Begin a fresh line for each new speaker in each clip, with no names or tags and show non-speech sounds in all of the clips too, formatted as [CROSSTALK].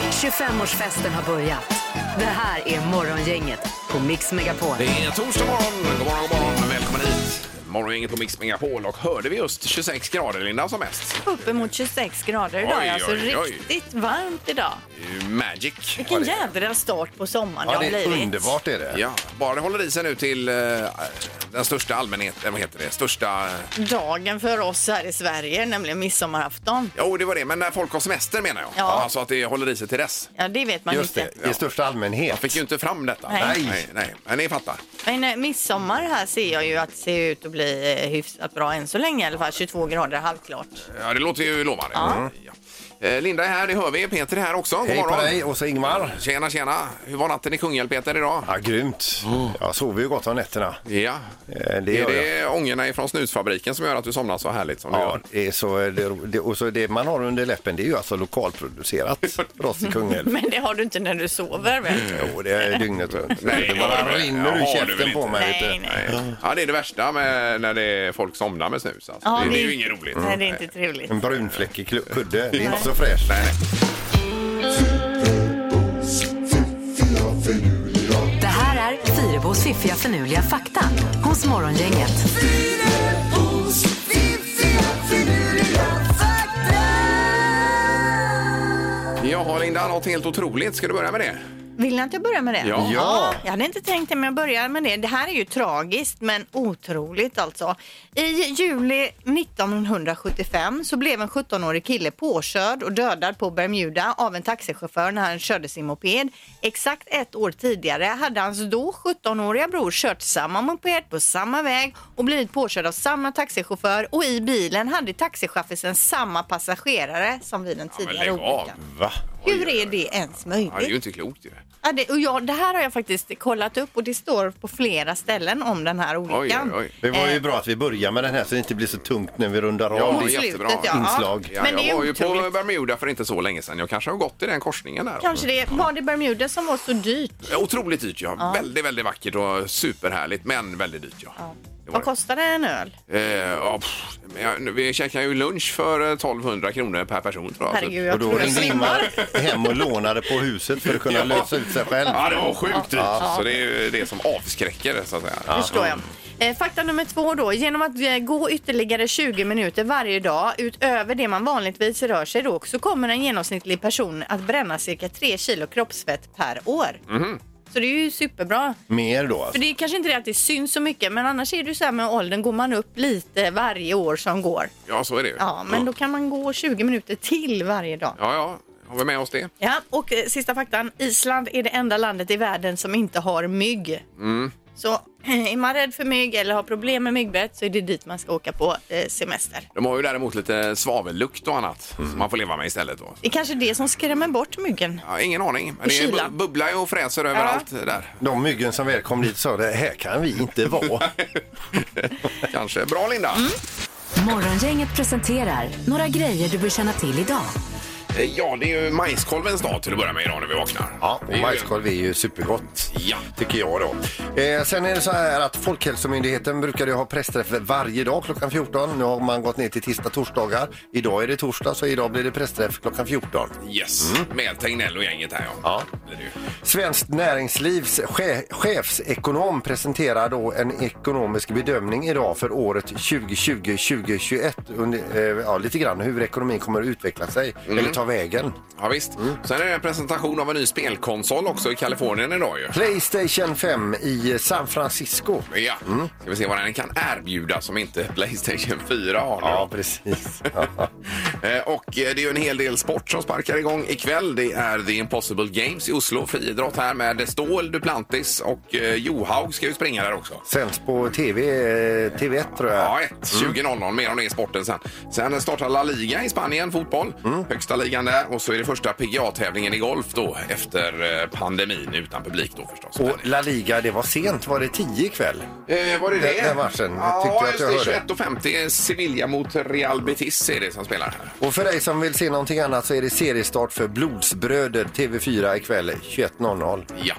25-årsfesten har börjat. Det här är Morgongänget på Mix Megapol.
Det är torsdag morgon. God morgon, god morgon. Välkommen hit. Morgongänget på Mix Megapol. Och hörde vi just 26 grader, Linda, som mest?
Uppemot 26 grader
Oj,
idag. Oj, alltså
oj, oj.
riktigt varmt idag.
Eh, Magic.
Vilken
var det.
jädra start på sommaren
Ja,
det har
det är
blivit.
underbart är det.
Ja, bara det håller i sig nu till eh, den största allmänheten, vad heter det, största...
Dagen för oss här i Sverige, nämligen midsommarafton.
Jo, det var det, men när folk har semester menar jag.
Ja.
Alltså att det håller i sig till dess.
Ja, det vet man
Just
inte.
det, i största allmänhet.
Fick ju inte fram detta.
Nej.
Nej.
nej, nej. Men ni fattar.
Men eh, midsommar här ser jag ju att ser ut att bli eh, hyfsat bra än så länge i alla fall. 22 grader, halvklart.
Ja, det låter ju lovande. Ja. Eh, Linda är här, det hör vi. Peter är här också. God
Hej på
morgon.
dig och så Ingmar.
Tjena, tjena. Hur var natten i Kungälv, Peter, idag?
Ja, grymt. Jag sover ju gott om nätterna.
Ja.
Eh, det
är
gör
Mm. det ångorna ifrån snusfabriken som gör att du somnar så härligt som
Ja, det är så, eh, det, det, och så det man har under läppen det är ju alltså
[LAUGHS]
lokalproducerat för oss i Kungälv.
Men det har du inte när du sover väl?
Mm.
Jo, det är dygnet runt.
Nej,
det bara
det har du
rinner
väl
ur
inte.
käften på mig. Vet
Nej,
du.
nej.
du gör? Ja, det är det värsta med när det är folk somnar med snus. Alltså.
Ja,
det, det är ju inget roligt.
Nej, det är inte trevligt.
En brunfläckig klu- kudde, det är inte så fräscht.
Nej, nej.
Det här är Fyrebos fiffiga förnuliga fakta hos Morgongänget.
Jaha, Linda, något helt otroligt. Ska du börja med det?
Vill ni att jag börjar med det?
Ja.
Ja.
Jag hade inte tänkt det, men jag börjar med det. Det här är ju tragiskt, men otroligt alltså. I juli 1975 så blev en 17-årig kille påkörd och dödad på Bermuda av en taxichaufför när han körde sin moped. Exakt ett år tidigare hade hans då 17-åriga bror kört samma moped på samma väg och blivit påkörd av samma taxichaufför och i bilen hade taxichauffören samma passagerare som vid den
men
tidigare
lägg av.
olyckan.
Va?
Hur är det ens möjligt?
Ja, det är ju inte klokt ju.
Ja, det, och jag, det här har jag faktiskt kollat upp och det står på flera ställen om den här olyckan.
Oj, oj, oj.
Det var ju
Eh,
bra att vi börjar med den här så det inte blir så tungt när vi rundar av.
Ja,
mot
jättebra.
slutet, ja.
Inslag.
Ja,
Men det är
jag var ju på
otroligt.
Bermuda för inte så länge sedan. Jag kanske har gått i den korsningen där.
Kanske det var det Bermuda som var så dyrt.
Otroligt dyrt, ja. Väldigt, väldigt vackert och superhärligt, men väldigt dyrt, ja. Det var
Vad
det.
kostade en öl?
Eh, ja, pff, men jag- nu- vi käkade ju lunch för eh, 1200 kronor per person, tror jag.
Herregud,
Och
jag
då
tror jag
ringde
svimmar.
Ingmar hem och lånade på huset för att
[LAUGHS]
kunna lösa ut sig själv.
Ja, det var sjukt dyrt. Så det är ju det som avskräcker, så att säga.
Förstår jag. Eh, Fakta nummer två då. Genom att eh, gå ytterligare 20 minuter varje dag utöver det man vanligtvis rör sig då så kommer en genomsnittlig person att bränna cirka 3 kilo kroppsfett per år.
Mhm.
Så det är ju superbra.
Mer då alltså.
För det är kanske inte det att det syns så mycket, men annars är det ju så här med åldern, går man upp lite varje år som går.
Ja, så är det ju.
Ja, men då kan man gå 20 minuter till varje dag.
Ja, ja. Har vi med oss det?
Ja, och eh, sista faktan. Island är det enda landet i världen som inte har mygg. Så eh, är man rädd för mygg eller har problem med myggbett så är det dit man ska åka på eh, semester.
De har ju däremot lite svavellukt och annat
Mm.
som man får leva med istället. Då.
Det är kanske det som skrämmer bort myggen.
Ja, ingen aning. Men
I
det är bu-
kylan.
bubblar ju och fräser överallt där.
[LAUGHS]
De myggen som väl kom dit sa det här kan vi inte vara.
Kanske. Bra, Linda.
Mm.
Morgongänget presenterar några grejer du bör känna till idag.
Eh, Ja, det är ju majskolvens dag till att börja med idag när vi vaknar.
Ja,
Det är
och
ju-
majskolv är ju supergott.
Ja.
Tycker jag då. Eh, sen är det så här att Folkhälsomyndigheten brukade ha pressträff varje dag klockan 14. Nu har man gått ner till tisdag, torsdagar. Idag är det torsdag så idag blir det pressträff klockan 14.
Yes,
Mm.
med Tegnell och gänget här ja.
Ja.
Blir det ju.
Svenskt Näringslivs che- chefsekonom presenterar då en ekonomisk bedömning idag för året 2020-2021. Under, eh, ja, lite grann hur ekonomin kommer att utveckla sig eller ta vägen.
Ja, visst.
Mm.
Sen är det en presentation av en ny spelkonsol också i Kalifornien idag ju.
Playstation 5 i San Francisco.
Ja,
Mm.
ska vi se vad den kan erbjuda som inte Playstation 4 har nu.
Ja, precis. Ja.
[LAUGHS] Eh, Och eh, det är ju en hel del sport som sparkar igång ikväll. Det är The Impossible Games i Oslo, friidrott här med Ståhl, Duplantis och eh, Johaug ska ju springa där också.
Sänds på TV, eh, TV1 tror jag.
Ja, 1.
Mm.
20.00. Mer om det i sporten sen. Sen startar La Liga i Spanien, fotboll.
Mm.
Högsta ligan där. Och så är det första PGA-tävlingen i golf då efter eh, pandemin utan publik då förstås. Men,
Och La Liga, det var sent. Var det 10 ikväll?
eh, var det det?
den matchen. Jag
Ja,
tyckte att
just
jag
det.
hörde.
21.50. Sevilla mot Real Betis är det som spelar här.
Och för dig som vill se någonting annat så är det seriestart för Blodsbröder TV4 ikväll 21.00.
Ja.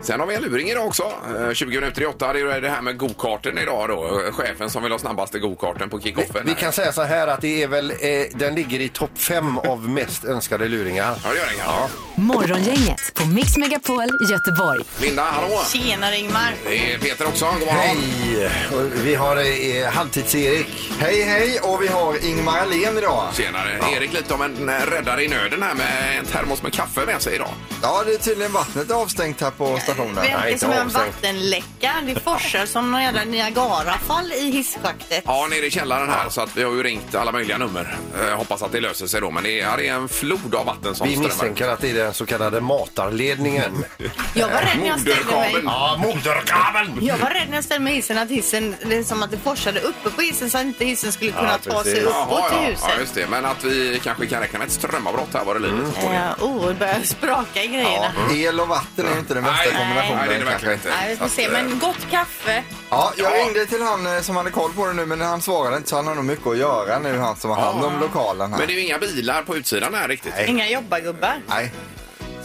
Sen har vi en luring idag också. Eh, 20 minuter i åtta. Det är det här med go-karten idag då. Eh, Chefen som vill ha snabbaste go-karten på kickoffen.
Vi kan säga så här att det är väl, eh, den ligger i topp fem av mest önskade luringar.
Ja, det gör den ja.
Morgongänget på Mix Megapol Göteborg.
Linda, hallå!
Tjenare Ingmar!
Det är Peter också. God morgon!
Hej! Och Vi har eh, Halvtids-Erik. Hej, hej! Och vi har Ingmar Ahlén idag.
Senare. Erik lite om en eh, räddare i nöden här med en termos med kaffe med sig idag.
Ja, det är tydligen vattnet avstängt här på stationen.
Verkar
inte
som en
avstängt.
vattenläcka. Det forsar som någon jävla Niagarafall i hisschaktet.
Ja, nere i källaren här så att vi har ju ringt alla möjliga nummer. Eh, hoppas att det löser sig då. Men det är, här är en flod av vatten som
Vi misstänker att det är den så kallade
[LAUGHS]
matarledningen.
Jag var rädd när jag ställde mig.
Moderkabeln.
Ja, moderkabeln!
Jag var rädd när jag ställde mig i hissen att hissen, det är som att det forsade uppe på hissen så att inte hissen skulle kunna ta sig
precis.
uppåt till
ja, ja,
huset.
just det. Men att vi kanske kan räkna med ett strömavbrott här var det
Mm.
livet.
Ja, oh, det börjar spraka i grejerna.
El och vatten är ju inte den bästa
Nej,
kombinationen.
nej, det är det verkligen
kanske.
inte.
Nej, vi får
Så
se.
att, eh,
Men gott kaffe.
Ja, jag
Ja.
ringde till han eh, som hade koll på det nu, men han svarade inte så han har nog mycket att göra nu, han som har hand om lokalen här.
Men det är ju inga bilar på utsidan här riktigt.
Inga jobbargubbar.
Nej.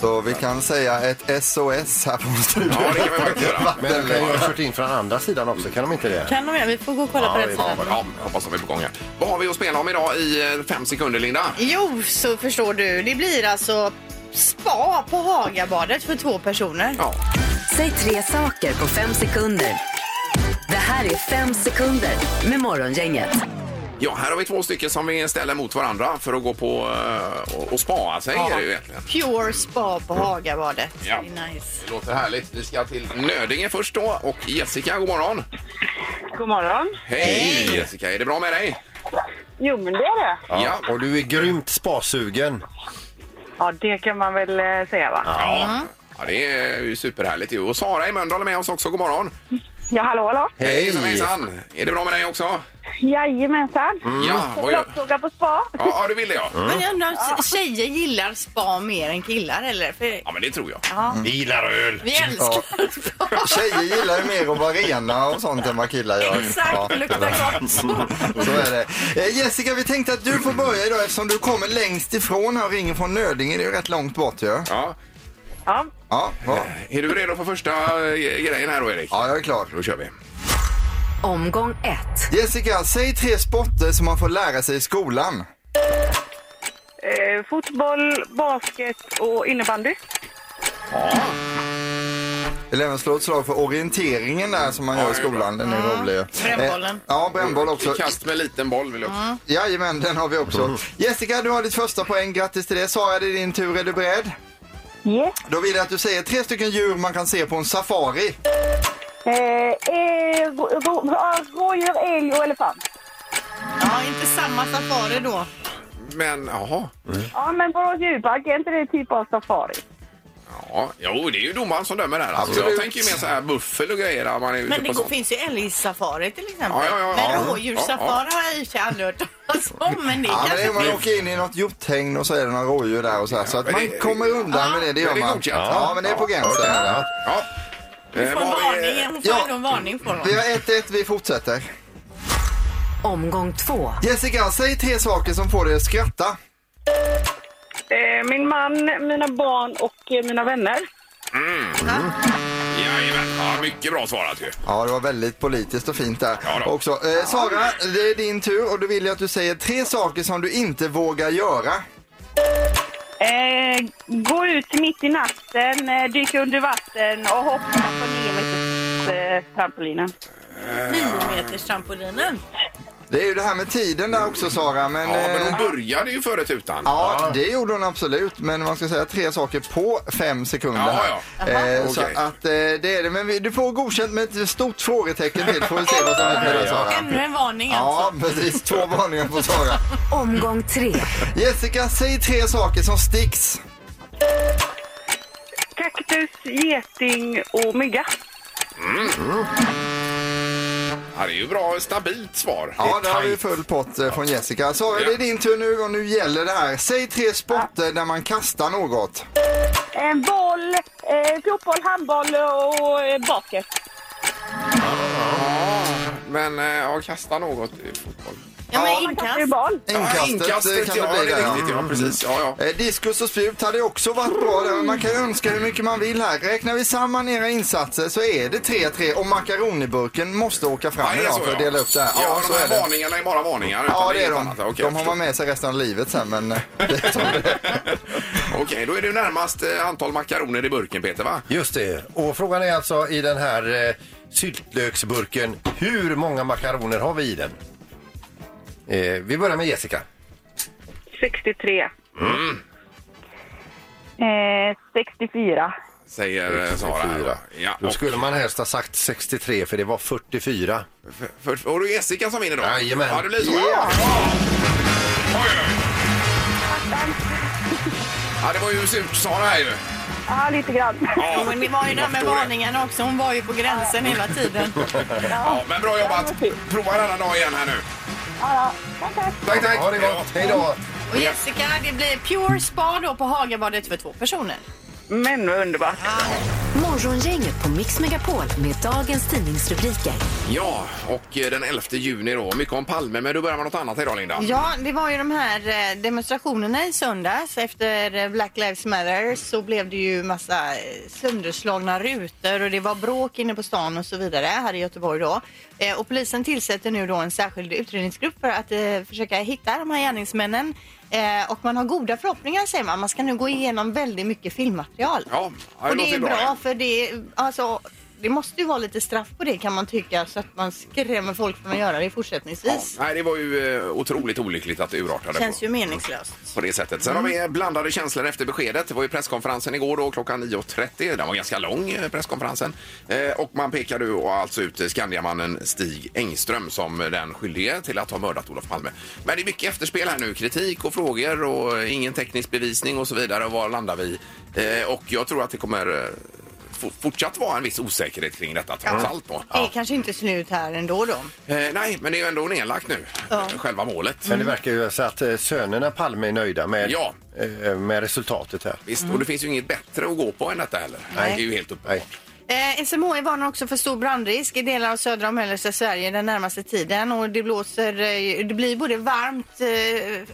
Så vi kan säga ett SOS här på studion.
Ja, det kan vi [LAUGHS] faktiskt göra.
Men de kan ju
eh,
ha kört in från andra sidan också, kan de inte det?
Kan de göra? Vi får gå och kolla
Ja,
på
vi-
den sidan.
Ja, hoppas de är på gång här. Vad har vi att spela om idag i eh, fem sekunder, Linda?
Jo, så förstår du. Det blir alltså spa på Hagabadet för två personer.
Ja.
Säg tre saker på fem sekunder. Det här är fem sekunder med Morgongänget.
ja, här har vi två stycken som vi ställer mot varandra för att gå på eh, och, och spa sig. Är det ju egentligen.
Pure spa på Hagabadet.
Mm. Ja.
Det är nice.
Det låter härligt. Vi ska till Nödinge först då. Och Jessica, god morgon!
God morgon.
Hej, Jessica! Är det bra med dig?
Jo, men det är det.
Ja.
Och du är grymt spasugen.
Ja, det kan man väl eh, säga, va? Ja,
Ja. ja, det är ju superhärligt. ju. Och Sara i Mölndal är med oss också. God morgon!
hallå, hallå.
Hejsan, hejsan! Är det bra med dig också?
Jajamensan.
Ja, vad gör...
Kroppsyoga på spa.
ja, ja, det ville jag.
Men jag undrar om tjejer gillar spa mer än killar eller? För
Ja, men det tror jag.
Vi gillar öl!
vi älskar [LAUGHS] spa.
Tjejer gillar ju mer att vara rena och sånt än vad killar gör. Ja.
Exakt, det luktar gott.
Så är det. Eh, Jessica, vi tänkte att du får börja idag eftersom du kommer längst ifrån här och ringer från Nödinge. Det är ju rätt långt bort ju. Ja.
Ja.
Ja.
Ja, ja.
Är du redo för första eh, grejen här då, Erik?
ja, jag är klar.
Då kör vi.
Omgång ett.
Jessica, säg tre sporter som man får lära sig i skolan.
Eh, fotboll, basket och innebandy.
Eller även slå ett slag för orienteringen där som man gör i skolan. Den är rolig ju.
Brännbollen.
Eh, Ja, brännboll också.
Kast med liten boll vill jag också.
Jajamän, den har vi
Mm.
också. Jessica, du har ditt första poäng. Grattis till det. Sara, det är din tur. Är du beredd?
Yes.
Då vill jag att du säger tre stycken djur man kan se på en safari.
Eh, eh, rå- rå- ja, rådjur, älg och elefant.
Ja, inte samma safari då.
Men jaha.
Ja, men Borås djurpark, är inte det typ av safari?
Ja, jo, det är ju domaren som dömer här. Alltså, jag
Absolut.
tänker ju mer så här buffel och grejer. där Man är ute
Men det går,
på sånt.
finns ju älgsafari till exempel.
Ja, ja, ja, ja.
men rådjurssafari har jag i och för sig aldrig hört talas om. Men det
Ja, men det är
kanske...
om man åker in i något hjorthägn och så är det några rådjur där och så här. Så att man kommer undan med det, det
men
gör
det är
man.
godkänt.
Ja, men det är på gränsen. här.
Ja. Eh,
Får en
vad har vi-
varning. Hon får
Ja.
ändå en varning på
Vi
honom.
har 1-1, vi fortsätter.
Omgång två.
Jessica, säg tre saker som får dig att skratta.
Eh, min man, mina barn och eh, mina vänner.
Jajamän. Ja, mycket bra svarat ju.
Ja, det var väldigt politiskt och fint där
Ja då.
också. Eh, Sara, det är din tur och då vill jag att du säger tre saker som du inte vågar göra.
Eh, gå ut mitt i natten, eh, dyka under vatten och hoppa på nio meters eh, trampolinen.
Niometerstrampolinen.
Det är ju det här med tiden där också Sara, men...
Ja, men
eh,
hon började ju före tutan.
Ja, det gjorde hon absolut. Men man ska säga tre saker på fem sekunder.
Jaha,
här. Eh, Så
Okej.
att eh, det är det. Men vi, du får godkänt med ett stort frågetecken till. Får vi se vad som händer där Sara.
Ännu en varning
Ja,
alltså.
precis. Två varningar på Sara.
Omgång tre.
Jessica, säg tre saker som sticks.
Kaktus, geting och mygga.
Ja, det är ju bra stabilt svar.
Ja, där har vi full pott eh, från Jessica. Sara, det är din tur nu och nu gäller det här. Säg tre sporter där man kastar något.
En boll, eh, fotboll, handboll och eh, basket.
Men eh, ja, kasta något i fotboll.
Ja, men
Man kastar
inkast.
ju boll.
Ja,
Inkastet eh,
inkastet,
kan
ja.
det bli
Det
där.
är
ja.
riktigt, ja. Precis. Mm. Ja, ja.
Eh, Diskus och spjut hade också varit bra där, men man kan önska hur mycket man vill här. Räknar vi samman era insatser så är det 3-3 och makaroniburken måste åka fram
Ja, det är
idag
så,
för att
ja.
dela upp det här.
Ja,
Ja,
de
så
här
är det.
varningarna är bara varningar. utan
Ja, det är
inget
de.
annat. Okej, jag
De har man med sig resten av livet sen, men eh, det är som det är.
förstår. Okej, då är det ju närmast eh, antal makaroner i burken, Peter, va?
Just det. Och frågan är alltså i den här eh, syltlöksburken, hur många makaroner har vi i den? Eh, vi börjar med Jessica.
63. Eh, 64.
Säger eh, Sara.
Fyra.
Ja,
Då
och,
skulle man helst ha sagt 63 för det var 44.
för, för, och det är Jessica som vinner då?
Jajamän.
Ja, det blir så.
Ja.
Oj, oj. Ja, det var ju surt, Sara här ju.
Ja, lite grann.
Ja,
Men det var ju det här med
förstår det.
varningarna också. Hon var ju på gränsen hela tiden.
Ja, men bra jobbat. Prova en annan dag igen här nu.
Ja, tack, tack.
Tack, tack.
Ha det gott. Hej då.
Och Jessica, det blir Pure Spa då på Hagabadet för två personer.
Men vad underbart.
Morgongänget på Mix Megapol med dagens tidningsrubriker.
Ja, och eh, den 11 juni då. Mycket om Palme, men du börjar med något annat idag, Linda.
Ja, det var ju de här eh, demonstrationerna i söndags. Efter eh, Black Lives Matter så blev det ju massa eh, sönderslagna rutor och det var bråk inne på stan och så vidare här i Göteborg då. Eh, Och polisen tillsätter nu då en särskild utredningsgrupp för att eh, försöka hitta de här gärningsmännen. Eh, Och man har goda förhoppningar säger man. Man ska nu gå igenom väldigt mycket filmmaterial.
Ja,
och
det
det
låter
är
bra,
bra,
ja.
för det, alltså, det måste ju vara lite straff på det kan man tycka så att man skrämmer folk från att göra det
Ja,
fortsättningsvis.
nej, det var ju eh, otroligt olyckligt att det urartade
Känns
på, Mm.
ju meningslöst.
på det sättet. Sen har
Mm.
vi blandade känslor efter beskedet. Det var ju presskonferensen igår då klockan 9.30. Den var ganska lång, eh, presskonferensen. Eh, och man pekade ju alltså ut eh, Skandiamannen Stig Engström som den skyldige till att ha mördat Olof Palme. Men det är mycket efterspel här nu. Kritik och frågor och eh, ingen teknisk bevisning och så vidare. Och Var landar vi? Eh, och jag tror att det kommer eh, f- fortsatt vara en viss osäkerhet kring detta trots allt då.
Det är kanske inte slut här ändå då.
Eh, nej, men det är ju ändå nedlagt nu,
Ja. Mm.
eh, själva målet.
Men det verkar ju så att eh, sönerna Palme är nöjda med,
Ja.
eh, med resultatet här.
Visst, och det finns ju inget bättre att gå på än detta heller.
Nej.
Det är ju helt uppenbart.
Nej.
Eh, SMHI varnar också för stor brandrisk i delar av södra och mellersta Sverige den närmaste tiden och det blåser, eh, det blir både varmt eh,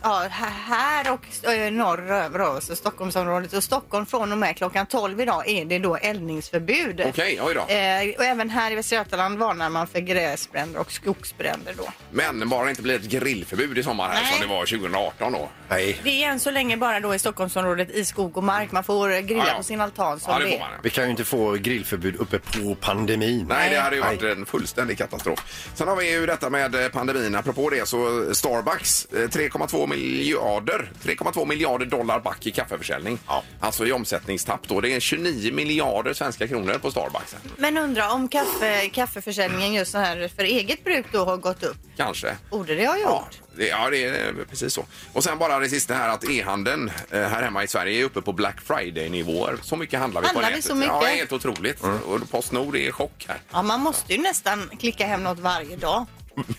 ja, här- här och eh, norröver då, så Stockholmsområdet och Stockholm från och med klockan 12 idag är det då eldningsförbud.
Okej, oj då.
Eh, och även här i Västra Götaland varnar man för gräsbränder och skogsbränder då.
Men bara det inte blir ett grillförbud i sommar här
Nej.
som det var 2018 då.
Nej,
Det är än så länge bara då i Stockholmsområdet i skog och mark. Man får grilla
Ja, ja.
på sin altan som
Ja, det
det
får
är.
man. ja.
vi kan ju inte få grillförbud uppe på pandemin.
Nej, det hade ju varit
Nej.
en fullständig katastrof. Sen har vi ju detta med eh, pandemin. Apropå det så Starbucks eh, 3,2 miljarder, 3,2 miljarder dollar back i kaffeförsäljning. Alltså i omsättningstapp då. Det är 29 miljarder svenska kronor på Starbucks.
Men undra om kaffe, kaffeförsäljningen just så här för eget bruk då har gått upp.
Kanske.
Borde det ha
Ja,
gjort?
det, ja, det är eh, precis så. Och sen bara det sista här att e-handeln eh, här hemma i Sverige är uppe på Black Friday-nivåer. Så mycket handlar vi på
Handlar vi
nätet.
så mycket?
Ja, det är helt otroligt. Och Postnord är i chock här.
Ja, man måste ju nästan klicka hem något varje dag.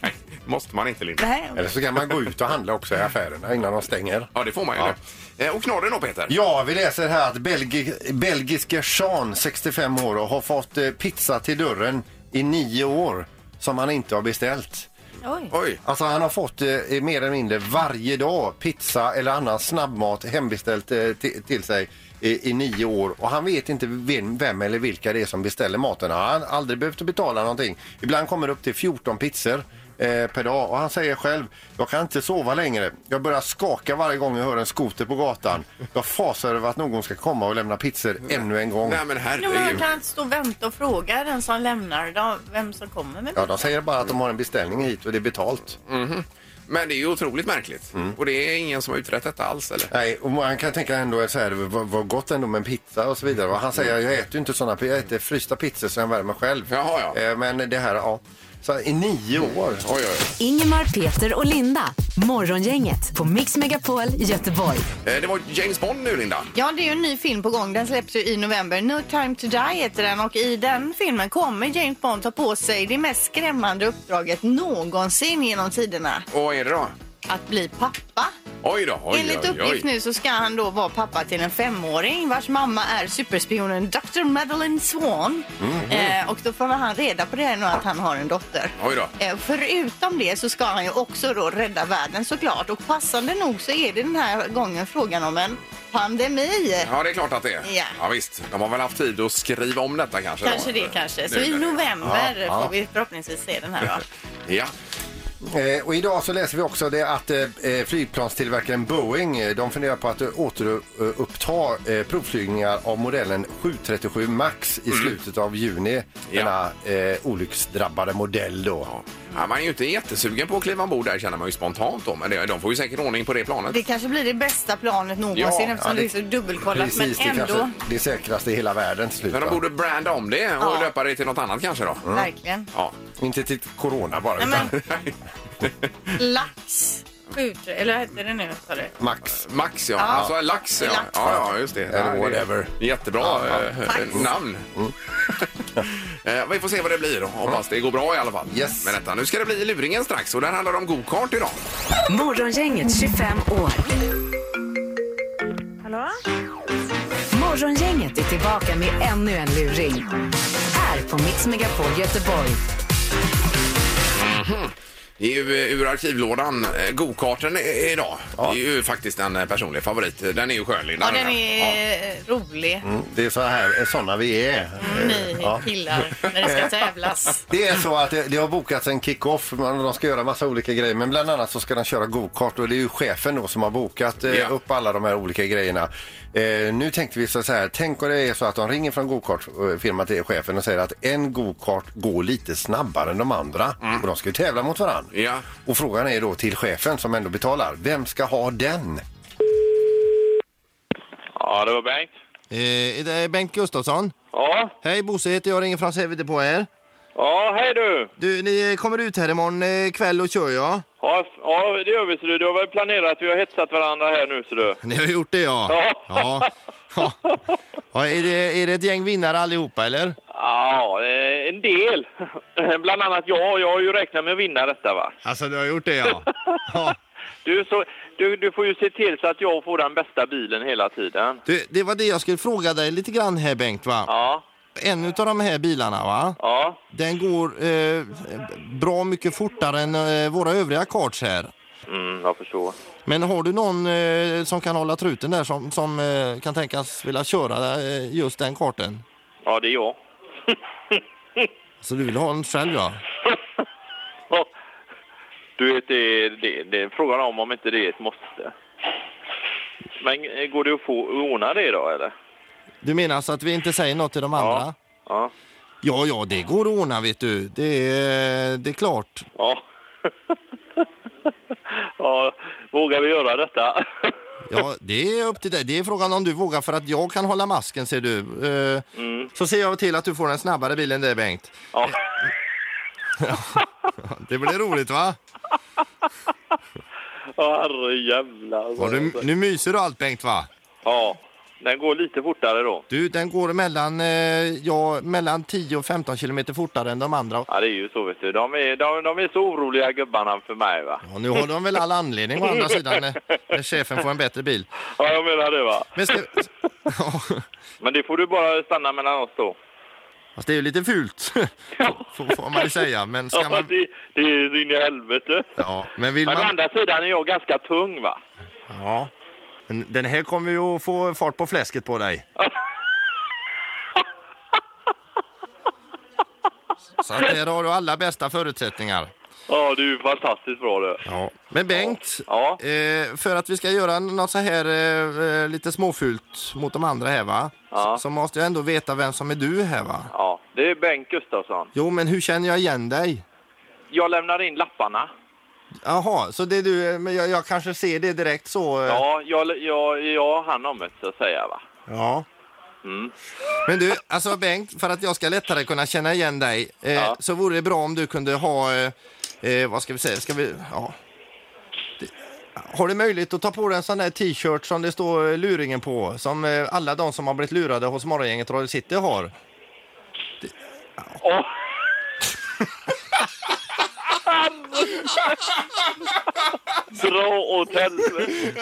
Nej, måste man inte, Linda.
Nej.
Eller så kan man gå ut och handla också i affärerna innan de stänger.
Ja, det får man ju nu. Eh, Och knorren då, Peter?
Ja, vi läser här att belgi belgiska Sean, 65 år, har fått eh, pizza till dörren i nio år som han inte har beställt.
Oj.
[LAUGHS] Oj.
Alltså han har fått eh, mer eller mindre varje dag pizza eller annan snabbmat hembeställt eh, ti- till sig i, i nio år och han vet inte vem, vem eller vilka det är som beställer maten. Han har aldrig behövt att betala någonting. Ibland kommer det upp till 14 pizzor eh, per dag och han säger själv jag kan inte sova längre. Jag börjar skaka varje gång jag hör en skoter på gatan. Jag fasar över att någon ska komma och lämna pizzor ännu en gång.
Nej, men
Nu har jag
herregud.
kan inte stå och vänta och fråga den som lämnar då, vem som kommer med
Ja, de säger bara att de har en beställning hit och det är betalt.
Men det är ju otroligt märkligt. Och det är ingen som har utrett detta alls, eller?
Nej, och man kan tänka ändå så här, vad, vad gott ändå med en pizza och så vidare. Och han säger, jag äter ju inte sådana, jag äter frysta pizzor så jag värmer själv.
Jaha, ja.
Eh, Men det här, ja. Så i nio år.
Oj, oj, oj.
Ingemar, Peter och Linda. Morgongänget på Mix Megapol Göteborg.
Eh, Det var James Bond nu, Linda.
Ja, det är ju en ny film på gång. Den släpps ju i november. No time to die heter den och i den filmen kommer James Bond ta på sig det mest skrämmande uppdraget någonsin genom tiderna.
Och vad är det då?
Att bli pappa.
Oj då, oj,
Enligt
oj, oj.
uppgift nu så ska han då vara pappa till en femåring vars mamma är superspionen Dr. Madeleine Swan. Eh, och då får han reda på det här nu att han har en dotter.
Oj då.
Eh, förutom det så ska han ju också då rädda världen såklart. Och passande nog så är det den här gången frågan om en pandemi.
Ja, det är klart att det är.
Ja.
Ja, visst. De har väl haft tid att skriva om detta kanske.
Kanske
då.
det kanske. Så
Nu
i
när det-
november
Ja, ja.
får vi förhoppningsvis se den här va?
Ja.
Eh, och idag så läser vi också det att eh, eh, flygplanstillverkaren Boeing eh, de funderar på att eh, återuppta eh, provflygningar av modellen 737 Max i slutet av juni.
Mm. Ja.
Denna eh, olycksdrabbade modell då.
Ja, man är ju inte jättesugen på att kliva ombord där känner man ju spontant då. Men det, de får ju säkert ordning på det planet.
Det kanske blir det bästa planet någonsin
Ja,
eftersom
ja,
det,
det-
är så dubbelkollat.
Precis,
men
det,
ändå,
kanske, det säkraste i hela världen till slut.
Men de
va?
borde branda om det och
Ja. Mm.
löpa det till något annat kanske då.
verkligen.
Ja.
Inte till corona bara,
Nej,
utan
men, lax. Ut, eller vad hette det nu? Sa du?
Max.
[LAUGHS] Max ja. Alltså lax ja.
Lax.
Ja, ja just det.
Eller
Nej,
whatever.
det är Jättebra eh,
Tack. Mm.
eh, namn. [LAUGHS] Eh, Vi får se vad det blir. då. Hoppas det går bra i alla fall.
Yes.
Med detta. Nu ska det bli luringen strax och där handlar det om go-kart idag.
Morgongänget 25 år.
Hallå?
Morgongänget är tillbaka med ännu en luring. Här på Mix Megapol Göteborg.
Det är ju eh, ur arkivlådan. eh, Go-karten i- idag. Det är ju faktiskt en eh, personlig favorit. Den är ju skönlig.
Ja,
den
den
här. Ja.
är Mm. rolig.
Mm, Det är så här, sådana vi är.
Ni
Ja.
killar, när det ska tävlas.
Det är så att det, det har bokats en kick-off. Man- De ska göra massa olika grejer. Men bland annat så ska de köra go-kart. Och det är ju chefen då som har bokat eh,
Ja.
upp alla de här olika grejerna. Eh, nu tänkte vi så här. Tänk om det är så att de ringer från go-kartfirman till chefen och säger att en go-kart går lite snabbare än de andra. Och de ska ju tävla mot varandra.
Mm. Ja.
Och frågan är då till chefen som ändå betalar. Vem ska ha den?
Ja, det var Bengt.
Eh, det är Bengt Gustafsson.
Ja,
Hej Bosse heter jag, ringer från Sävede på er.
ja hej du.
Du, ni eh, kommer ut här imorgon eh, kväll och kör ja?
Ja, f- ja, det gör vi så du. Du har väl planerat, vi har hetsat varandra här nu så du.
Ni har gjort det ja? Ja. ja. ja är, det, är det ett gäng vinnare allihopa eller?
Ja, eh, en del. [LAUGHS] Bland annat jag, jag har ju räknat med att vinna detta va.
Alltså du har gjort
[LAUGHS]
det ja? ja.
Du, så, du, du får ju se till så att jag får den bästa bilen hela tiden.
Du, det var det jag skulle fråga dig lite grann här Bengt va?
Ja,
En utav de här bilarna va?
ja,
Den går eh, bra mycket fortare än eh, våra övriga karts här.
mm, jag förstår.
Men har du någon eh, som kan hålla truten där som, som eh, kan tänkas vilja köra eh, just den karten?
Ja, det är jag.
Så du vill ha en själv ja?
Ja. Du vet, det, det, det är frågan om om inte det är ett måste. Men eh, går det att få ordna det då eller?
Du menar så att vi inte säger något till de andra?
Ja.
Ja, ja, det går att ordna vet du. Det är, det är klart.
Ja. [LAUGHS] ja, vågar vi göra detta? [LAUGHS]
Ja, det är upp till dig. Det är frågan om du vågar för att jag kan hålla masken ser du. Eh,
Mm.
Så ser jag till att du får en snabbare bil än det Bengt.
ja.
Det blir roligt va?
ja, herrejävlar.
Och du, nu myser du allt Bengt va?
Ja, den går lite fortare då.
Du, den går mellan, eh, ja, mellan 10 och 15 kilometer fortare än de andra.
Ja, det är ju så vet du. De är, de, de är så oroliga gubbarna för mig va.
Ja, nu har de väl all anledning å andra sidan när, när chefen får en bättre bil.
Ja, jag menar det va.
Men ska, ja,
[LAUGHS] Men det får du bara stanna mellan oss då.
fast det är ju lite fult,
[LAUGHS]
får får man ju säga. Men, ska
Ja,
man,
det, det är så in i helvete.
ja, men vill
Men å
man...
andra sidan är jag ganska tung va.
Ja. Men Den här kommer ju att få fart på fläsket på dig. Så att där har du alla bästa förutsättningar.
Ja, du är fantastiskt bra du.
Ja. Men Bengt,
Ja.
Eh, för att vi ska göra något så här eh, eh, lite småfult mot de andra här va?
Ja.
Så, så måste jag ändå veta vem som är du här va?
Ja, det är Bengt Gustafsson.
Jo, men hur känner jag igen dig?
Jag lämnar in lapparna.
Jaha, så det är du, eh, men jag, jag kanske ser det direkt så. eh,
Ja, jag, jag, jag har hand om det så att säga va. Mm.
Ja. Men du, alltså Bengt, för att jag ska lättare kunna känna igen dig eh,
Ja.
så vore det bra om du kunde ha, eh, eh, vad ska vi säga, ska vi, ja. Det- Har du möjlighet att ta på dig en sån där t-shirt som det står eh, luringen på, som eh, alla de som har blivit lurade hos Morgongänget Radio City har?
Åh.
Dra åt helvete.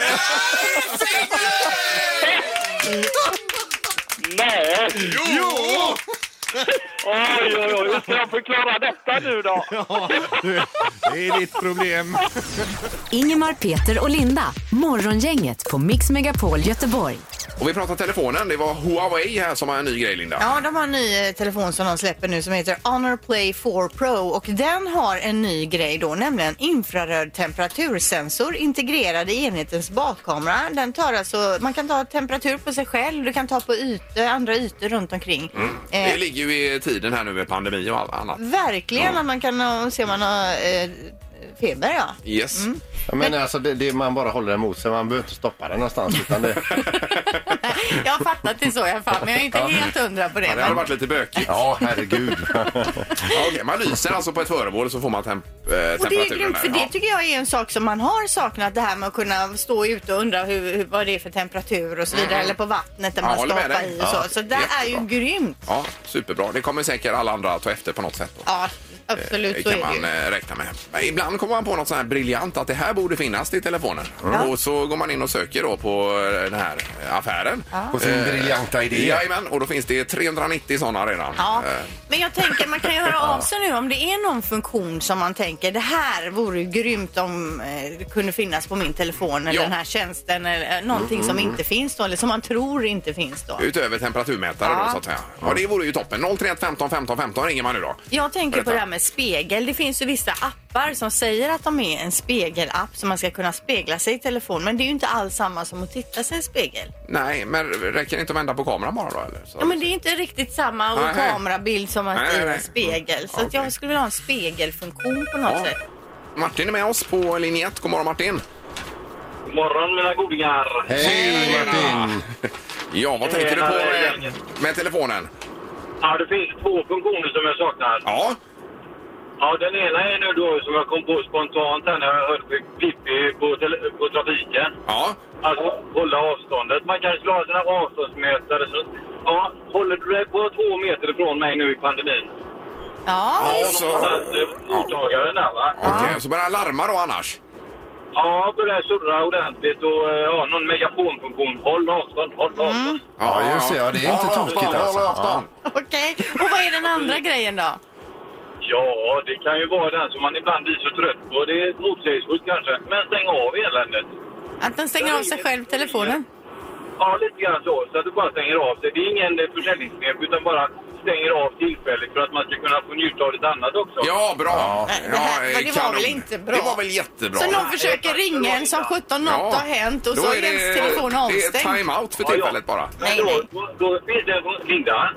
Nej!
Jo!
Oj, oj, oj. Hur ska jag förklara detta nu då?
Det är ditt problem.
Ingemar, Peter och Linda. Morgongänget på Mix Megapol Göteborg.
Och vi pratar telefonen. Det var Huawei här som har en ny grej, Linda.
Ja, de har en ny eh, telefon som de släpper nu som heter Honor Play 4 Pro och den har en ny grej då, nämligen infraröd temperatursensor integrerad i enhetens bakkamera. Den tar alltså, man kan ta temperatur på sig själv, du kan ta på ytor, andra ytor runt omkring.
Mm. Det
Eh,
ligger ju i tiden här nu med pandemi och allt annat.
verkligen att man kan eh, se om man har eh, feber ja.
Yes.
Mm.
Ja, men alltså, det, det, man bara håller den mot sig, man behöver inte stoppa den någonstans. Utan
[LAUGHS]
det,
[LAUGHS] Jag har fattat det så i alla fall, men jag är inte helt hundra på
Ja, det hade varit lite bökigt.
ja, herregud.
Ja, okej, Man lyser alltså på ett föremål så får man temp eh,
Och det är
temperaturen.
grymt, för
där.
det tycker jag är en sak som man har saknat det här med att kunna stå ute och undra hur, hur, vad det är för temperatur och så vidare eller på vattnet där
Mm. Ja,
man ska
håller med
hoppa
dig.
i och
Ja,
så. Så det är ju
jättebra.
grymt.
ja, superbra. Det kommer säkert alla andra att ta efter på något sätt. Då.
Ja, absolut så
kan
är det
man
ju.
eh, räkna med. Men ibland kommer man på något sånt här briljant att det här borde finnas till telefonen. Och så går man in och söker då på eh, den här affären. Eh,
På sin briljanta idé.
Jajamän, och då finns det 390 sådana redan.
Ja,
Eh,
men jag tänker man
[LAUGHS]
kan ju höra av sig nu om det är någon funktion som man tänker det här vore ju grymt om eh, det kunde finnas på min telefon eller
Ja. Mm-hmm.
den här tjänsten eller eh, någonting som inte finns då eller som man tror inte finns då.
Utöver temperaturmätare
Ja.
då så att säga. Ja, det vore ju toppen. 031 15 15 15 ringer man nu då.
Jag tänker på
Berätta.
det här med spegel. Det finns ju vissa appar som säger att de är en spegelapp som man ska kunna spegla sig i telefon. Men det är ju inte alls samma som att titta sig i en spegel.
Nej, men räcker det inte att vända på kameran bara då eller? Så-
Ja, men det är inte riktigt samma
Nej.
och kamerabild som att
Nej,
det är
nej.
en spegel. Så att
Okej.
jag skulle vilja ha en spegelfunktion på något
Ja.
sätt.
Martin är med oss på linje 1. God morgon Martin!
God morgon mina godingar.
Hej, Martin!
[LAUGHS] Ja, vad tänker du på
Eh,
med, med telefonen?
Ja, det finns två funktioner som jag saknar.
Ja,
Ja, den ena är nu då som jag kom på spontant här när jag hörde Pippi på, tele- på trafiken.
ja.
Alltså hålla avståndet. Man kan slå av sina avståndsmätare. Så, ja, håller du dig på två meter ifrån mig nu i pandemin?
Ja,
Och
visst.
så,
Att, eh, Mottagaren där va?
Okej, så börjar han larma då annars?
Ja, börjar surra ordentligt och eh, ja, någon megafonfunktion. Håll avstånd, håll
Mm.
avstånd.
Ja, just det. Ja, det är inte
håll
tokigt
avstånd,
alltså.
håll avstånd.
okej. Och vad är den andra grejen då?
Ja, det kan ju vara den som man ibland blir så trött på. Det är motsägelsefullt kanske. Men stäng av eländet.
Att den stänger av sig själv telefonen?
Ja, lite grann så. Så att du bara stänger av sig. Det är ingen eh, försäljningsknep utan bara stänger av tillfälligt för att man ska kunna få njuta av lite annat också.
Ja, bra!
Nej, det här- men det var väl inte bra?
Det var väl jättebra?
Så någon försöker ringa en som 17 något har hänt och
då
så
är
är
det-
ens telefon
Det är
avstängd.
time-out för
Ja, ja.
tillfället bara.
Nej,
Men då,
nej.
då- då finns det en fun- Linda,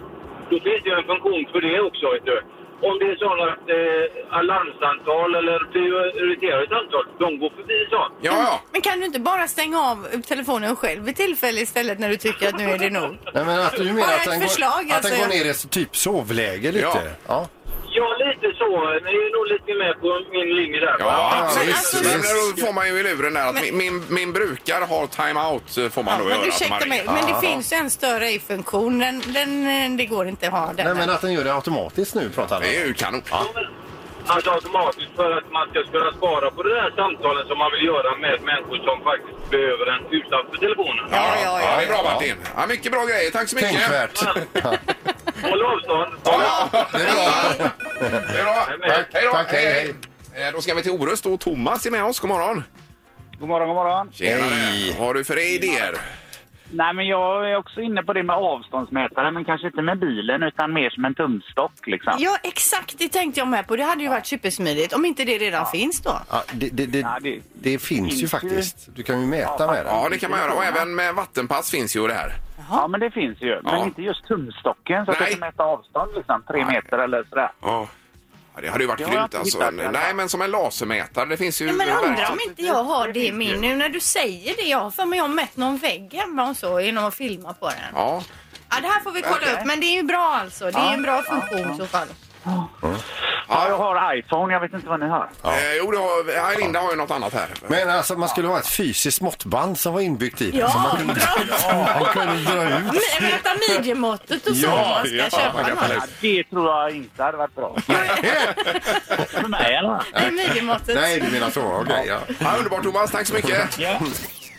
då finns det ju en funktion för det också. Vet du. Om det är sådana eh, alarmsamtal eller prioriterade samtal, de går förbi sånt.
Ja, ja.
Men kan du inte bara stänga av telefonen själv vid tillfälle istället när du tycker att nu är det nog?
Nej, men att du menar
Bara
att
ett
den,
förslag,
går, att den
alltså.
går ner i ett typ sovläge lite?
Ja.
Ja.
Ja, lite så. Ni är nog lite med på min linje där. va?
Ja, absolut.
men alltså-
men då får man ju i luren där att min, min, min brukare har time-out eh, får man
Ja,
då
men
göra. som man
ursäkta mig,
ringer.
men det finns ju en större i-funktion. Den, den, eh, det går inte att ha den.
Nej, men att den gör det automatiskt nu pratar
Det
han
är
om.
ju kanon.
Alltså automatiskt för att man ska kunna spara på det där samtalen som man vill göra med människor som faktiskt behöver en utanför telefonen.
Ja, ja, ja.
det är bra Martin. Ja, mycket bra grejer. Tack så mycket.
Tänkvärt.
Håll avstånd!
Ja, det är bra. Det är bra.
Tack,
Hej då.
tack, hej,
Eh, Då ska vi till Orust och Thomas är med oss. God morgon.
God morgon, god morgon.
Hej. Vad har du för idéer?
Nej, men jag är också inne på det med avståndsmätare, men kanske inte med bilen utan mer som en tumstock liksom.
Ja, exakt. Det tänkte jag med på. Det hade ju varit supersmidigt om inte det redan finns då.
Ja, det, det,
Ja,
det,
det-
det finns ju
finns
faktiskt. Du kan ju mäta med den.
Ja, det kan man göra. Och även med vattenpass finns ju det här.
Ja, men det finns ju. Men
Ja.
inte just tumstocken så att
Nej.
jag kan mäta avstånd liksom, tre
Nej.
meter eller sådär.
Ja. Det hade ju varit
Det har jag
grymt
inte
alltså.
hittat i alla fall.
Nej, men som en lasermätare. Det finns ju...
Ja, men undrar om
verktyg.
inte jag har det i min nu när du säger det. Jag har för mig jag har mätt någon vägg hemma och så genom att filma på den.
Ja.
Ja, det här får vi kolla upp, men det är ju bra alltså. Det är en bra funktion i så fall.
Ja, jag har iPhone. Jag vet inte vad ni har.
Eh, jo, det har, eh, Linda har ju något annat här.
Men alltså man skulle ha ett fysiskt måttband som var inbyggt i den. Som man kunde, [LAUGHS] man kunde dra ut.
Mäta midjemåttet och så
Ja,
om man ska
ja, man
köpa
kan
något.
följa-
Ja, det tror jag inte hade varit bra. För mig i alla fall.
Nej, midjemåttet.
Nej, du menar så. Okej, ja.
Ja, underbart Thomas, tack så mycket.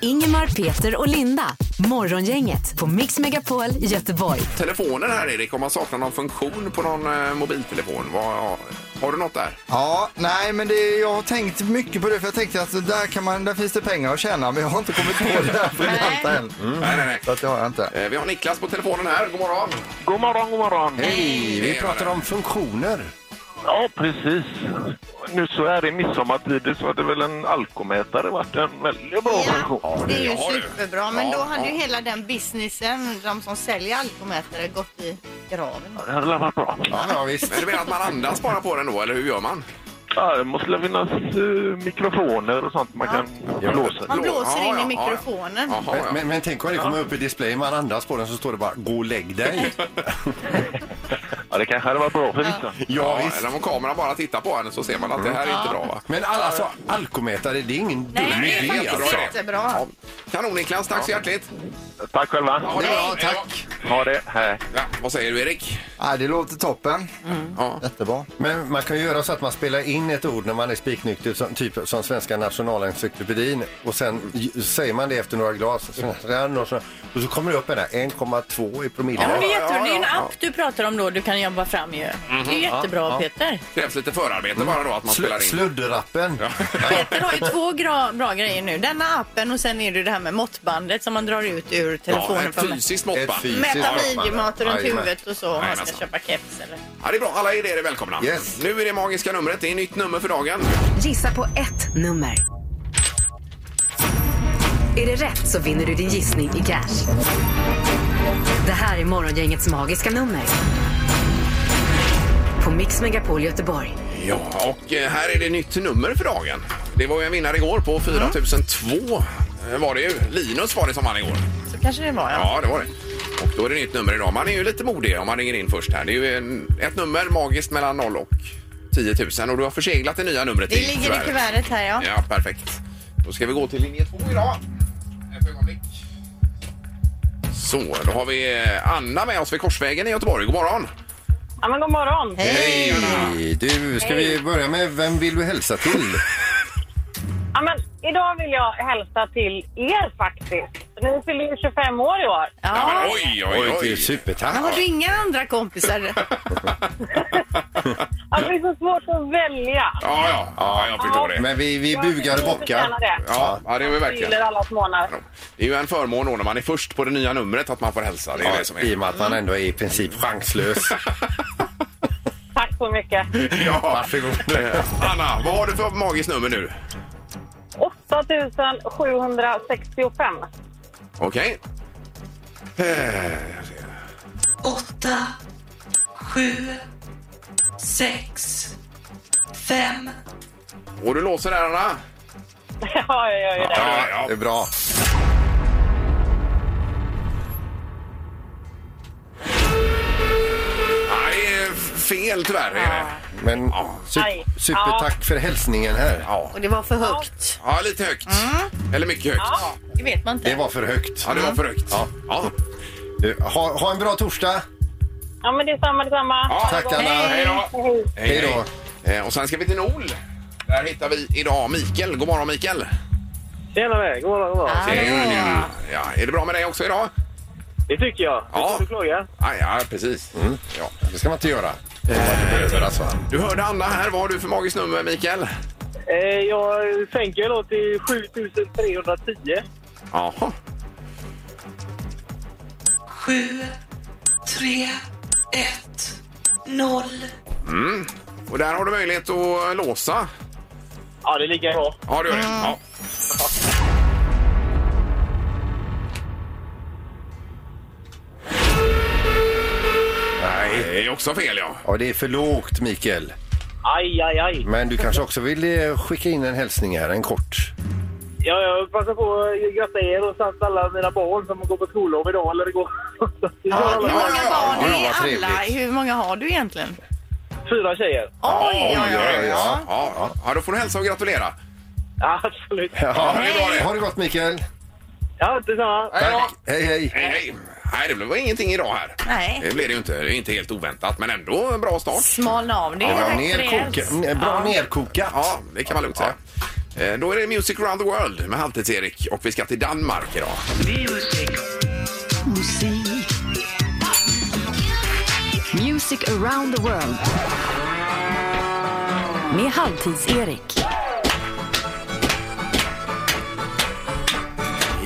Ingemar, Peter och Linda. Morgongänget på Mix Megapol Göteborg.
Telefonen här Erik, om man saknar någon funktion på någon eh, mobiltelefon. Vad, har du något där?
Ja, nej men det, jag har tänkt mycket på det för jag tänkte att där, kan man, där finns det pengar att tjäna men jag har inte kommit på det där briljanta än. Mm.
Mm.
Nej, nej, nej.
Så att det har jag inte.
Eh, Vi har Niklas på telefonen här. God morgon.
God morgon, god morgon.
Hej, vi pratar om funktioner.
Ja, precis. Nu så är det midsommartider så hade väl en alkomätare varit en väldigt bra
Ja, det är ju
Ja, du.
superbra. Men
Ja,
då hade
ja.
ju hela den businessen, de som säljer alkomätare, gått i graven.
Det hade varit bra.
Ja, ja visst.
Men du menar att man andas bara på den då, eller hur gör man?
Ja, det måste väl finnas eh, mikrofoner och sånt man kan blåsa i.
Man blåser
Ja,
in i
ja, ja.
mikrofonen.
Jaha, ja.
Men, men, men tänk om det kommer upp i displayen, man andas på den så står det bara gå och lägg dig.
Ja, det kanske hade varit bra för vissa.
Ja,
Ja, visst.
eller om kameran bara tittar på henne så ser man att det här är inte bra va?
Men alla- alltså, alkomätare, det är ingen dum
Nej, det är
idé
faktiskt
alltså.
jättebra.
Ja. Kanon Niklas, tack så hjärtligt.
Tack själva.
Ha det bra,
tack.
Ha det. Hej.
Ja, vad säger du Erik?
Nej, det låter toppen.
Ja.
Jättebra.
Men man kan ju göra så att man spelar in ett ord när man är spiknykter, som, typ som Svenska Nationalencyklopedin. Och sen j- säger man det efter några glas. så-
Mm.
så- så- Och så kommer det upp en där, 1,2 i
Ja, men
promille.
det, är jättebra. det är ju en app du pratar om då du kan jobba fram ju. Det är jättebra Peter.
Krävs lite förarbete
Mm.
bara då att man
Sl
spelar in.
Sludderappen.
Peter har ju två gra- bra
Det är
grejer nu.
nu denna appen och sen är det det här med måttbandet som man drar ut ur
Ja,
telefonen.
ett
för att
fysiskt måttband.
Mäta
måttband.
midjemat runt
Jajamän.
huvudet och så om man ska
Jajamensan.
köpa keps eller...
Ja, det är bra. Alla idéer är välkomna.
Yes.
Nu är det magiska numret. Det är nytt nummer för dagen.
Gissa på ett nummer. Är det rätt så vinner du din gissning i cash. Det här är Morgongängets magiska nummer. På Mix Megapol Göteborg.
Ja, och eh, här är det nytt nummer för dagen. Det var ju en vinnare igår
Mm.
på 4002. eh, Var det ju. Linus var det som vann igår.
Så kanske det var ja.
Ja, det var det. Och då är det nytt nummer idag. Man är ju lite modig om man ringer in först här. Det är ju en, ett nummer magiskt mellan 0 och 10 000 och du har förseglat det nya numret
Det ligger i kuvertet här ja.
Ja, perfekt. Då ska vi gå till linje 2 idag. Ett ögonblick. Så, då har vi eh, Anna med oss vid Korsvägen i Göteborg. God morgon!
Ja, men god morgon.
Hej! Anna.
Hej, Du, ska vi börja med vem vill du hälsa till?
Ja, men idag vill jag hälsa till er faktiskt. Ni fyller ju 25 år i år.
Ja,
ja.
men, oj, oj,
Oj, det är
oj!
Men
supertack.
har du inga andra kompisar?
Ja, det är så svårt att välja.
Ja, ja, ja, jag förstår det.
Men vi, vi
Jag
bugar och
tycker ni förtjänar
bockar.
det.
Ja, ja, det är vi
Jag
verkligen.
gillar allas månader.
Det är ju en förmån då när man är först på det nya numret att man får hälsa. Det är det som
Ja, I
är.
och med att man ändå är i princip chanslös.
Tack så mycket.
[LAUGHS] Ja. Eh,
Varsågod.
Anna, vad har du för magiskt nummer nu?
8765.
Okej. Eh,
åtta, sju, sex, fem.
Och du låser där, Anna?
[LAUGHS] Ja, jag gör ju det.
Ja, [LAUGHS] ja.
Det är bra.
Nej, fel tyvärr. Är det.
Men
Aj.
super, supertack för hälsningen här.
Ja.
Och det var för högt.
ja, lite högt. Eller mycket högt. Ja,
Det vet man inte.
Det var för högt.
det var för högt. Ja. Ja.
Du, Ha, ha en bra torsdag.
Ja, men det är samma, det är samma.
Ja,
Tack Anna.
Hej då!
Hej.
Hej då.
Eh, Och sen ska vi till Nol. Där hittar vi idag Mikael. God morgon Mikael!
Tjenare, god morgon, god morgon.
Ja. Ja, är det bra med dig också idag?
Det tycker jag. Det
Ja.
får du klaga.
Ja, ja precis. Ja.
Det ska man inte göra. Eh, alltså.
Du hörde Anna här. Vad har du för magiskt nummer Mikael?
Eh, jag sänker då till 7310.
Jaha.
Sju, tre, ett, noll.
Och där har du möjlighet att låsa.
Ja, det ligger bra.
Ja, du gör det. Ja. Nej, det är också fel ja.
Ja, det är för lågt Mikael.
Aj, aj, aj.
Men du kanske också vill eh, skicka in en hälsning här, en kort.
Ja, jag passar på att gratta er och samt alla mina barn som går [LAUGHS] på skollov idag eller igår.
Hur många
ja,
barn
ja, vad
är alla?
trevligt.
Hur många har du egentligen?
Fyra tjejer.
Oj, oj, oj. Ja, ja. ja, då får du hälsa och gratulera.
Absolut.
Ja, ha det gott Mikael.
Ja, detsamma.
Hej då.
Hej, hej.
hej, hej. Nej, det blev ingenting idag här.
Nej.
Det blev det ju inte. Det är Inte helt oväntat, men ändå en bra start.
Smalna av det.
Ja,
Tack för det.
nerkoka-
n- bra
Ja.
nerkokat.
Ja, det kan man lugnt säga. Eh, Då är det Music around the world med Halvtids-Erik och vi ska till Danmark idag.
Musik. [LAUGHS] Music around the world. Med Halvtids-Erik.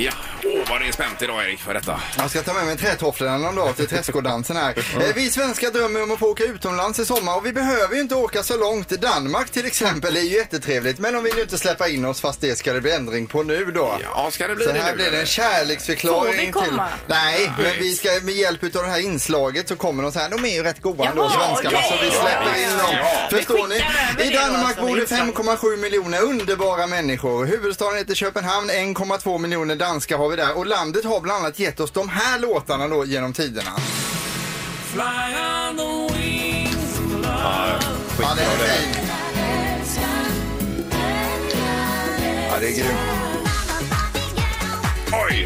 Ja, åh vad det är spänt idag Erik för detta.
Jag ska ta med mig trätofflorna någon dag till träskodansen här. Eh, Vi svenskar drömmer om att få åka utomlands i sommar och vi behöver ju inte åka så långt. Danmark till exempel är ju jättetrevligt men de vill ju inte släppa in oss fast det ska det bli ändring på nu då.
Ja, ska det bli
så
det
här
nu,
blir det
eller?
en kärleksförklaring
Får vi komma?
till... Nej, men vi ska med hjälp av det här inslaget så kommer de så här. De är ju rätt goa ändå
Jaha,
svenskarna
ja,
så vi
ja,
släpper in
ja,
dem.
ja.
Förstår
Vi
ni?
skickar över
I
det då
Danmark
som
bor det
inslag.
5, 1,7 miljoner underbara människor. Huvudstaden heter Köpenhamn, 1,2 miljoner danskar har vi där och landet har bland annat gett oss de här låtarna då genom tiderna.
Fly on the wings of
Ja, det är fint. Ja, det är grymt.
Oj!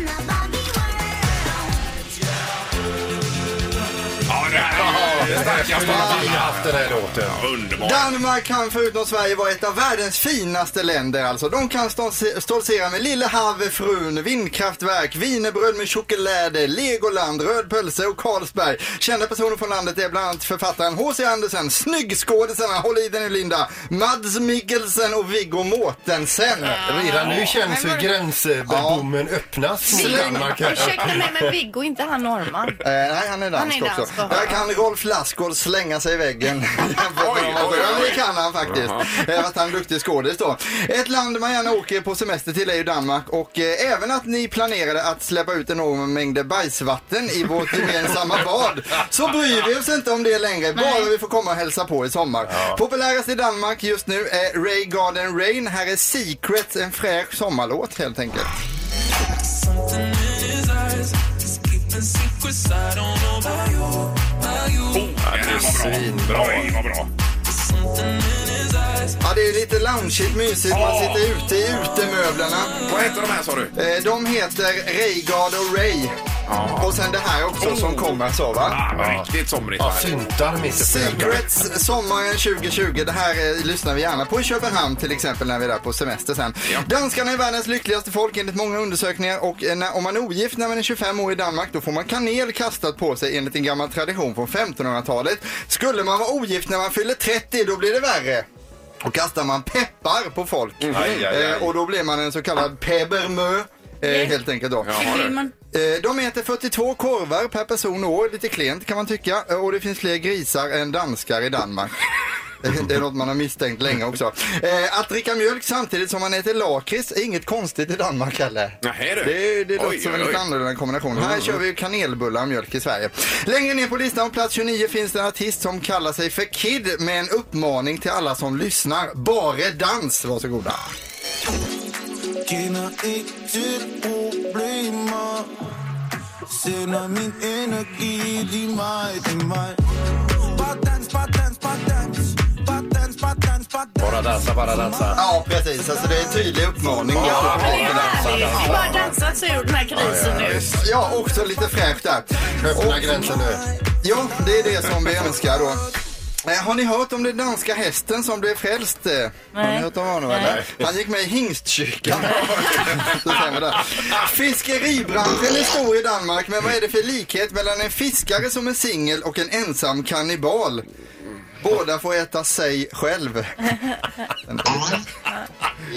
Ja, det här är det starkaste av alla.
haft den här låten.
Underbart.
Danmark kan förutom Sverige vara ett av världens finaste länder alltså. De kan stolse- stoltsera med Lille Havefrun, vindkraftverk, wienerbröd med choklad, Legoland, röd pölse och Carlsberg. Kända personer från landet är bland annat författaren H.C. Andersen, snyggskådisarna, håll i dig nu Linda, Mads Mikkelsen och Viggo Mortensen.
Redan nu känns hur gränsbommen öppnas mot Danmark. här.
Ursäkta mig, men Viggo, inte han norrman?
Eh, nej, han är dansk,
Han är dansk,
också.
ja.
Där kan Rolf Lassgård slänga sig
[LAUGHS]
i väggen.
Oj, oj,
Ja,
oj.
det kan han faktiskt. Eh, för att han är duktig skådis då. Ett land man gärna åker på semester till är ju Danmark och eh, även att ni planerade att släppa ut enorma mängder bajsvatten i vårt gemensamma bad så bryr vi oss inte om det längre. Bara vi får komma och hälsa på i sommar. Populärast i Danmark just nu är Ray Garden Rain. Här är Secrets, en fräsch sommarlåt helt enkelt.
Something in his eyes. He's keeping secrets I don't know about you. About you.
Bra, Erik, vad bra.
Ja, det är lite loungeigt mysigt. Man sitter ute i utemöblerna.
Vad heter de här sa du?
Eh, De heter Raygard och Ray. Och sen det här också som kommer så va?
Oh. Ja, men riktigt somrigt.
Ja,
här.
syntar mitt i
Secrets sommaren 2020. Det här eh, lyssnar vi gärna på i Köpenhamn till exempel när vi är där på semester sen. Danskarna är världens lyckligaste folk enligt många undersökningar och eh, när, om man är ogift när man är 25 år i Danmark då får man kanel kastat på sig enligt en gammal tradition från 1500-talet. Skulle man vara ogift när man fyller 30 då blir det värre. Då kastar man peppar på folk
Mm-hmm. Aj, aj, aj.
Eh, och då blir man en så kallad pebermö. Eh, helt enkelt då.
Jaha, du.
Eh, De äter 42 korvar per person och år, lite klent kan man tycka. Eh, Och det finns fler grisar än danskar i Danmark. [LAUGHS] Det är något man har misstänkt länge också. Eh, Att dricka mjölk samtidigt som man äter lakrits är inget konstigt i Danmark heller.
Nähä, du.
Det, är- det låter
Oj,
som en
oj,
lite
oj.
annorlunda kombination. Här kör vi ju kanelbullar och mjölk i Sverige. Längre ner på listan, på plats 29, finns det en artist som kallar sig för Kid med en uppmaning till alla som lyssnar. Bare dans, varsågoda.
Kender ikke til problemer Sender min energi til mig, til mig Bare dans, bare dans, bare dans Bare dans, bare dans, bare dans
Bara dansa, bara dansa.
Ja, precis. Alltså det är en tydlig uppmaning. Alltså,
Ja,
Det är härligt. Bara dansat sig ur den här krisen nu.
Ja, också lite fräscht där.
Öppna
Och-
gränsen nu.
Ja, det är det som vi önskar då. Eh, Har ni hört om den danska hästen som blev frälst? Eh, Har ni
Nej.
hört om honom
Nej.
eller? Han gick med
[LAUGHS]
i hingstkyrkan. Det stämmer där. Fiskeribranschen är stor i Danmark, men vad är det för likhet mellan en fiskare som är singel och en ensam kannibal? Båda får äta sig själv.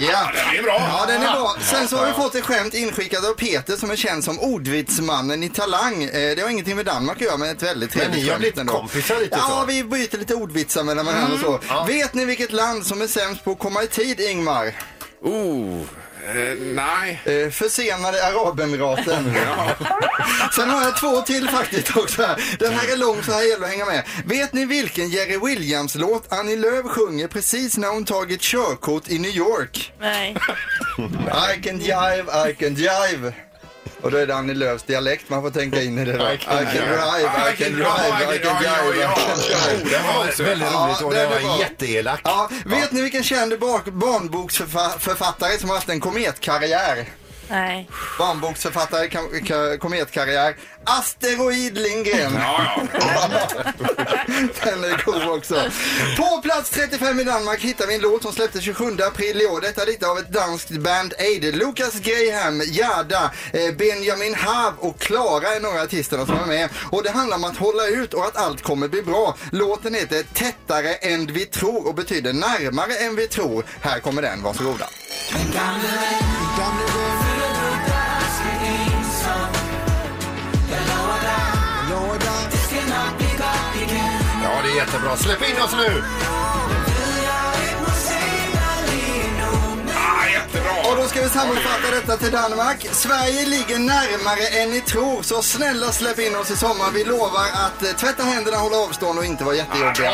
Ja.
Den är bra.
Ja, den är bra. Sen så har vi fått ett skämt inskickat av Peter som är känd som ordvitsmannen i Talang. Eh, Det har ingenting med Danmark att göra, men ett väldigt
Men
trevligt
ni har
skämt
blivit
ändå.
kompisar lite
Ja,
så. Mm.
vi byter lite ordvitsar mellan varandra och så. Vet ni vilket land som är sämst på att komma i tid, Ingmar?
Oh, eh, nej.
Eh, Försenade [LAUGHS] Arabemiraten. Sen har jag två till faktiskt också. här. Den här är lång så här gäller det att hänga med. Vet ni vilken Jerry Williams-låt Annie Lööf sjunger precis när hon tagit körkort i New York?
Nej.
I can jive, I can jive. Och då är det Annie Lööfs dialekt man får tänka in i det. Då. I can drive, I can drive, I can drive.
Oh,
Väldigt roligt och det
är
var
bra.
jätteelakt.
Ja, vet ni vilken känd bak- barnboksförfattare som har haft en kometkarriär?
Nej.
Barnboksförfattare, kam- ka- kometkarriär. Asteroid Lindgren. [LAUGHS] Den är god också. På plats 35 i Danmark hittar vi en låt som släpptes 27 april i år. Detta är lite av ett danskt band aid. Lucas Graham, Gerda, eh, Benjamin Hav och Klara är några artisterna som är med. Och det handlar om att hålla ut och att allt kommer bli bra. Låten heter Tättare än vi tror och betyder närmare än vi tror. Här kommer den, varsågoda.
Ja, det är jättebra. Släpp in oss nu!
Och då ska vi sammanfatta detta till Danmark. Sverige ligger närmare än ni tror, så snälla släpp in oss i sommar. Vi lovar att eh, tvätta händerna, hålla avstånd och inte vara jättejobbiga.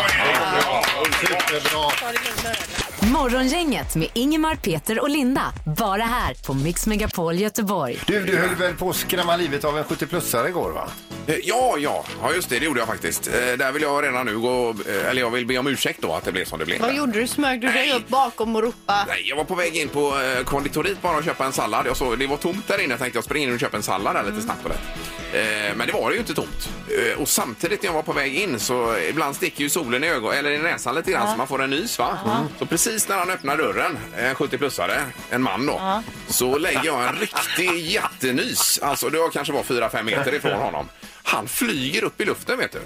Morgongänget med Ingemar, Peter och Linda. Bara här på Mix Megapol Göteborg.
Du, du höll väl på att skrämma livet av en 70-plussare igår, va?
Eh, Ja, ja, ja just det, det gjorde jag faktiskt. Eh, Där vill jag redan nu gå, eh, eller jag vill be om ursäkt då att det blev som det blev.
Vad gjorde du? Smög du dig upp bakom och ropa?
Nej, jag var på väg in på eh, konditoriet bara och köpa en sallad. Jag såg, det var tomt där inne. Jag tänkte jag springer in och köper en sallad där lite
Mm.
snabbt. och lätt. Eh, men det var det ju inte tomt. Eh, och samtidigt när jag var på väg in så ibland sticker ju solen i ögon, eller i näsan lite grann
Ja. Mm.
så man får en nys va? Så precis när han öppnar dörren, en 70-plussare, en man då,
Ja.
så lägger jag en riktig jättenys. Alltså det var kanske var 4-5
[LAUGHS]
meter ifrån honom. Han flyger upp i luften vet du.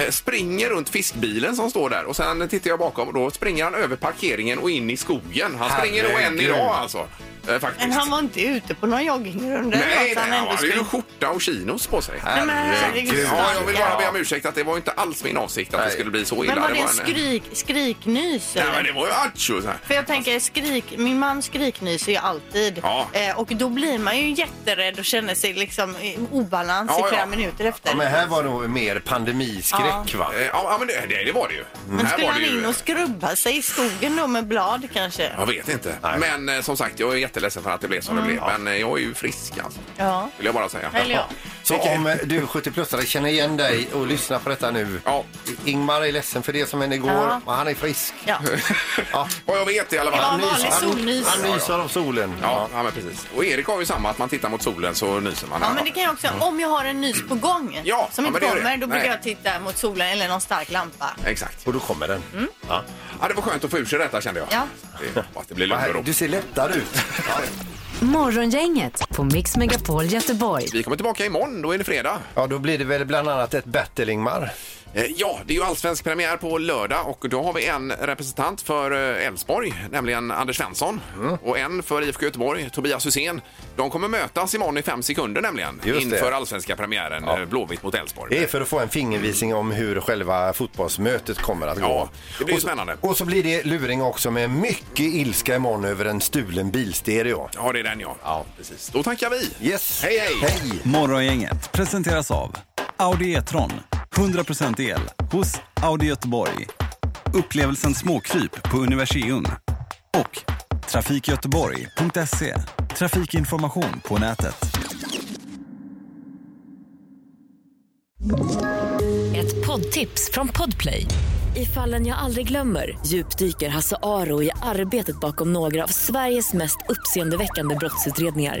Eh, springer runt fiskbilen som står där och sen tittar jag bakom och då springer han över parkeringen och in i skogen. Han springer nog än
Herregud.
idag alltså. Eh, faktiskt.
Men han var inte ute på någon joggingrunda. eller
Nej,
något,
nej, han
ändå
hade
skulle-
ju skjorta och chinos på sig.
Nej, men herregud.
Ja, jag vill bara be om ursäkt att det var ju inte alls min avsikt att det skulle bli så illa.
Men var det en
en-
skrik, skriknys?
Nej,
eller?
men det var ju atjo så här.
För jag tänker, skrik, min man skriknyser ju alltid.
Ja.
Eh, och då blir man ju jätterädd och känner sig liksom i obalans
Ja,
i flera
ja.
minuter efter.
Ja, men här var nog mer pandemiskräck,
Ja.
va?
Eh, Ja, ja, men det, det, det var det ju.
Men
Här
skulle
var
han
det ju-
in och skrubba sig i skogen då med blad kanske?
Jag vet inte. Men eh, som sagt, jag är jätteledsen för att det blev som det
Mm.
blev. Men eh, jag är ju frisk alltså,
Ja.
vill jag bara säga.
Eller ja.
Så om eh, du 70-plussare känner igen dig och lyssnar på detta nu. Ingmar är ledsen för det som hände igår,
Ja.
men han är frisk.
Ja.
Vad jag vet i alla fall.
Det var en vanlig Han nys- solnys. han nyser
av solen. Ja, ja, men precis. Och Erik har ju samma, att man tittar mot solen så nyser man.
Ja, men det kan jag också göra. Om jag har en nys på gång som
ja,
inte
men det gör det.
kommer, då brukar
Nej.
jag titta mot solen eller någon stark lampa.
Exakt. Och då kommer den. Ja. ja, det var skönt att få ur sig detta kände jag.
Ja.
Det, att det blir lugn och ro.
Du ser lättare ut.
[LAUGHS]
Morgongänget på Mix Megapol Göteborg.
Vi kommer tillbaka imorgon, då är det fredag.
Ja, då blir det väl bland annat ett battle, Ingmar.
Eh, Ja, det är ju allsvensk premiär på lördag och då har vi en representant för eh, Elfsborg, nämligen Anders Svensson. Och en för IFK Göteborg, Tobias Hysén. De kommer mötas imorgon i fem sekunder nämligen.
Just det.
inför allsvenska premiären, eh, Blåvitt mot Elfsborg.
Det är för att få en fingervisning om hur själva fotbollsmötet kommer att gå.
Ja, det blir ju
och så,
spännande.
Och så blir det luring också med mycket ilska imorgon över en stulen bilstereo.
Ja, det är den ja. ja. Precis. Då tackar vi.
Yes.
Hej, hej.
Morgongänget presenteras av Audi E-tron. 100% el hos Audi Göteborg. Upplevelsen småkryp på Universium. Och trafikgöteborg.se. Trafikinformation på nätet.
Ett poddtips från Podplay. I fallen jag aldrig glömmer djupdyker Hasse Aro i arbetet bakom några av Sveriges mest uppseendeväckande brottsutredningar.